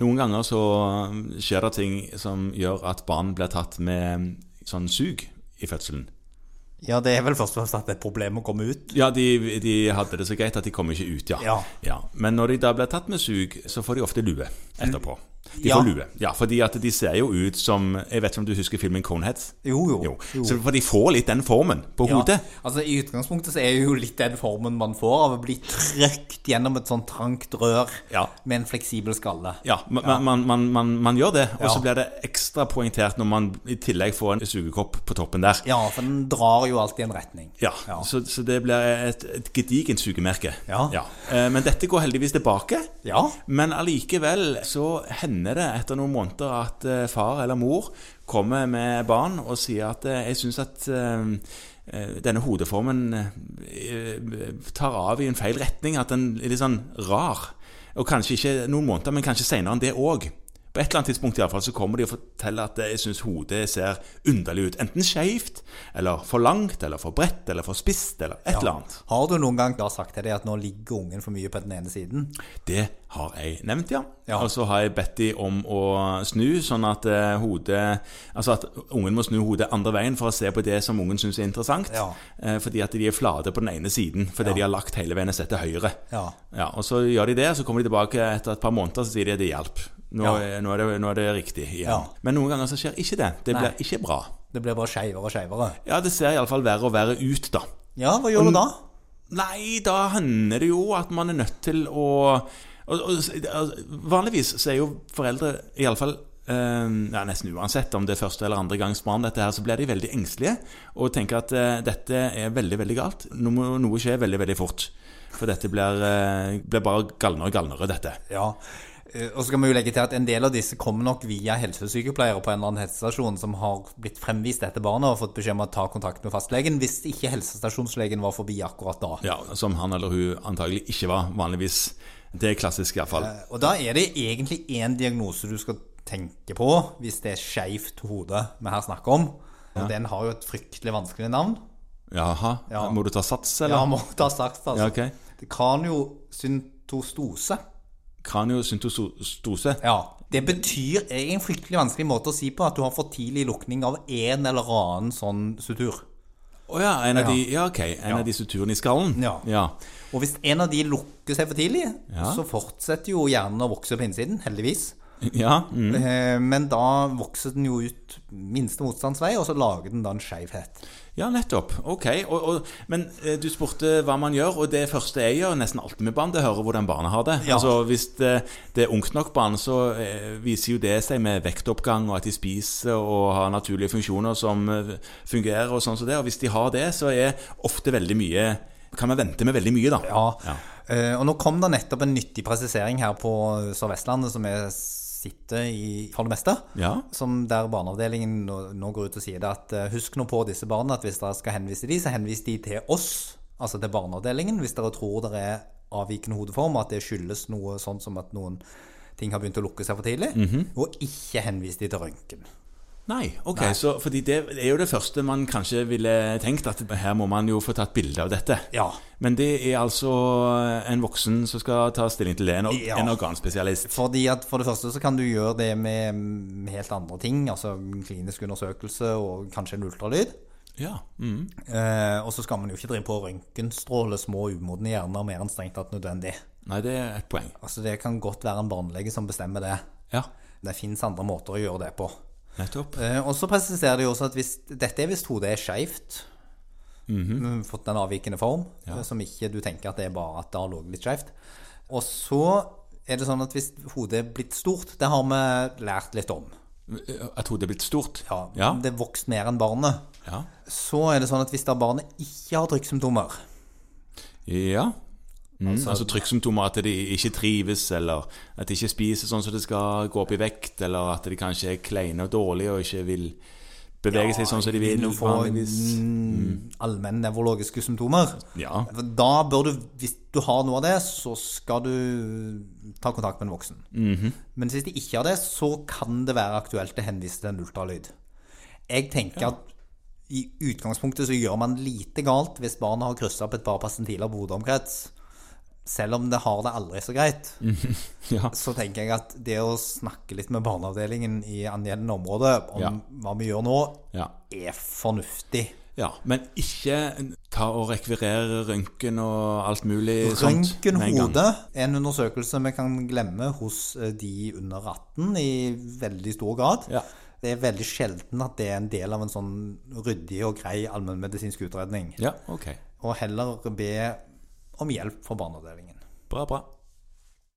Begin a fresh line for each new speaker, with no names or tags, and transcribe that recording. noen ganger så um, skjer det ting som gjør at barn blir tatt med sånn sug i fødselen.
Ja, det er vel først og fremst at det er et problem å komme ut.
Ja, de, de hadde det så greit at de kom ikke ut, ja.
Ja.
Men når de da blir tatt med sug, så får de ofte lue etterpå. De
Ja.
får lue. Ja, fordi at de ser jo ut som Jeg vet ikke om du husker filmen Conehead?
Jo, jo.
Jo.
Jo.
Så, for de får litt den formen på
Ja,
hodet.
altså I utgangspunktet så er jo litt den formen man får av å bli trøkt gjennom et sånn trangt rør
Ja.
med en fleksibel skalle.
Ja, man, Man, man, man, man gjør det. Og
Ja.
så blir det ekstra poengtert når man i tillegg får en sugekopp på toppen der.
Ja, for den drar jo alltid en retning.
Ja,
Ja.
Så, så det blir et, et gedigent sugemerke.
Ja.
Eh, Men dette går heldigvis tilbake.
Ja.
Men allikevel så hender det etter noen måneder at eh, far eller mor kommer med barn og sier at eh, jeg syns at eh, eh, denne hodeformen eh, tar av i en feil retning, at den er litt sånn rar. Og kanskje ikke noen måneder, men kanskje seinere enn det òg. På et eller annet tidspunkt i alle fall, så kommer de og forteller at eh, jeg syns hodet ser underlig ut. Enten skeivt, eller for langt, eller for bredt, eller for spisst, eller et eller annet.
Har du noen gang da sagt til deg at nå ligger ungen for mye på den ene siden?
Det har jeg nevnt, ja.
Ja.
Og så har jeg bedt de om å snu, sånn at eh, hodet Altså at ungen må snu hodet andre veien for å se på det som ungen syns er interessant.
Ja.
Eh, fordi at de er flate på den ene siden fordi de har lagt hele veien og sett til høyre.
Ja.
og så gjør de det, så kommer de tilbake etter et par måneder og sier de at det hjalp. Nå,
Ja.
nå, er det, nå er det riktig igjen.
Ja.
Men noen ganger så skjer ikke det. Det
Nei.
blir ikke bra.
Det blir bare skeivere og skeivere.
Ja, det ser iallfall verre og verre ut, da.
Ja, hva gjør du da?
Nei, da handler det jo at man er nødt til å og, og, altså, Vanligvis så er jo foreldre iallfall eh, ja, Nesten uansett om det er første eller andre gangs barn, dette her, så blir de veldig engstelige og tenker at eh, dette er veldig, veldig galt. Nå må noe skje veldig, veldig fort. For dette blir, eh, blir bare galnere og galnere, dette.
Ja. Eh, Og så kan vi jo legge til at en del av disse kommer nok via helsesykepleiere på en eller annen helsestasjon som har blitt fremvist dette barnet og fått beskjed om å ta kontakt med fastlegen hvis ikke helsestasjonslegen var forbi akkurat da.
Ja, Som han eller hun antagelig ikke var vanligvis. Det er klassisk, iallfall.
Eh, Og da er det egentlig én diagnose du skal tenke på hvis det er skeivt hode vi her snakker om. Og den har jo et fryktelig vanskelig navn.
Jaha,
Ja.
må du ta sats,
Ja,
eller?
må ta sagt, altså.
Ja, ok.
Det kan jo syntostose.
Kraniosyntostose.
Ja. Det betyr er en fryktelig vanskelig måte å si på at du har for tidlig lukning av en eller annen sånn sutur.
Å ja, en av de, ja, ok, en av de suturene i skallen?
Ja. Og hvis en av de lukker seg for tidlig, så fortsetter jo hjernen å vokse på innsiden, heldigvis.
Ja, mm.
Eh, Men da vokser den jo ut minste motstandsvei, og så lager den da en skeivhet.
ja nettopp. Ok. Og, og, men eh, du spurte hva man gjør, og det første jeg gjør, nesten alltid med barn, det er å høre hvordan barnet har det.
Ja.
Altså, Hvis det, det er ungt nok barn, så eh, viser jo det seg med vektoppgang, og at de spiser og har naturlige funksjoner som eh, fungerer, og sånn som det. Og hvis de har det, så er ofte veldig mye Kan man vente med veldig mye, da.
Ja. Eh, Og nå kom det nettopp en nyttig presisering her på Sør-Vestlandet, som jeg sitter i for det meste.
Ja.
Som der barneavdelingen nå, nå går ut og sier det at eh, husk nå på disse barna at hvis dere skal henvise de, så henvis de til oss, altså til barneavdelingen, hvis dere tror dere er avvikende hodeform, at det skyldes noe sånn som at noen ting har begynt å lukke seg for tidlig, og ikke henvis de til røntgen.
Nei, ok, Så, fordi det er jo det første man kanskje ville tenkt, at her må man jo få tatt bilde av dette.
Ja.
Men det er altså en voksen som skal ta stilling til det, en, or-
Ja.
en organspesialist.
Fordi at For det første så kan du gjøre det med mm, helt andre ting, altså en klinisk undersøkelse og kanskje en ultralyd.
Ja. Mm.
Eh, og så skal man jo ikke drive på å røntgenstråle små umodne hjerner mer enn strengt tatt nødvendig.
Nei, det er et poeng.
Altså Det kan godt være en barnelege som bestemmer det.
Ja,
Det fins andre måter å gjøre det på.
nettopp.
Eh, og så presiserer de også at hvis, dette er hvis hodet er skeivt, mm, fått en avvikende form, eh, som ikke du tenker at det er bare at det har ligget litt skeivt. Og så er det sånn at hvis hodet er blitt stort, det har vi lært litt om.
At hodet er blitt stort?
Ja,
Ja.
Det er vokst mer enn barnet.
Ja.
Så er det sånn at hvis da barnet ikke har trykksymptomer,
ja. Mm, altså, trykksymptomer, at de ikke trives, eller at de ikke spiser sånn som det skal, gå opp i vekt, eller at de kanskje er kleine og dårlige og ikke vil bevege seg sånn som de vil.
vil få
vanligvis.
mm, allmennnevrologiske symptomer.
Ja.
Da bør du, hvis du har noe av det, så skal du ta kontakt med en voksen.
Mhm.
Men hvis de ikke har det, så kan det være aktuelt å henvise til en ultralyd. Jeg tenker at i utgangspunktet så gjør man lite galt hvis barnet har kryssa opp et par persentiler på hodeomkrets. selv om det har det aldri så greit,
Mm. Ja.
så tenker jeg at det å snakke litt med barneavdelingen i angjeldende område om
Ja.
hva vi gjør nå,
ja.
er fornuftig.
Ja, men ikke ta og rekvirere røntgen og alt mulig sånt. med en gang.
Røntgenhode er en undersøkelse vi kan glemme hos eh, de under 18 i veldig stor grad.
Ja.
Det er veldig sjelden at det er en del av en sånn ryddig og grei allmennmedisinsk utredning.
Ja, ok.
Og heller be om hjelp fra barneavdelingen.
Bra, bra.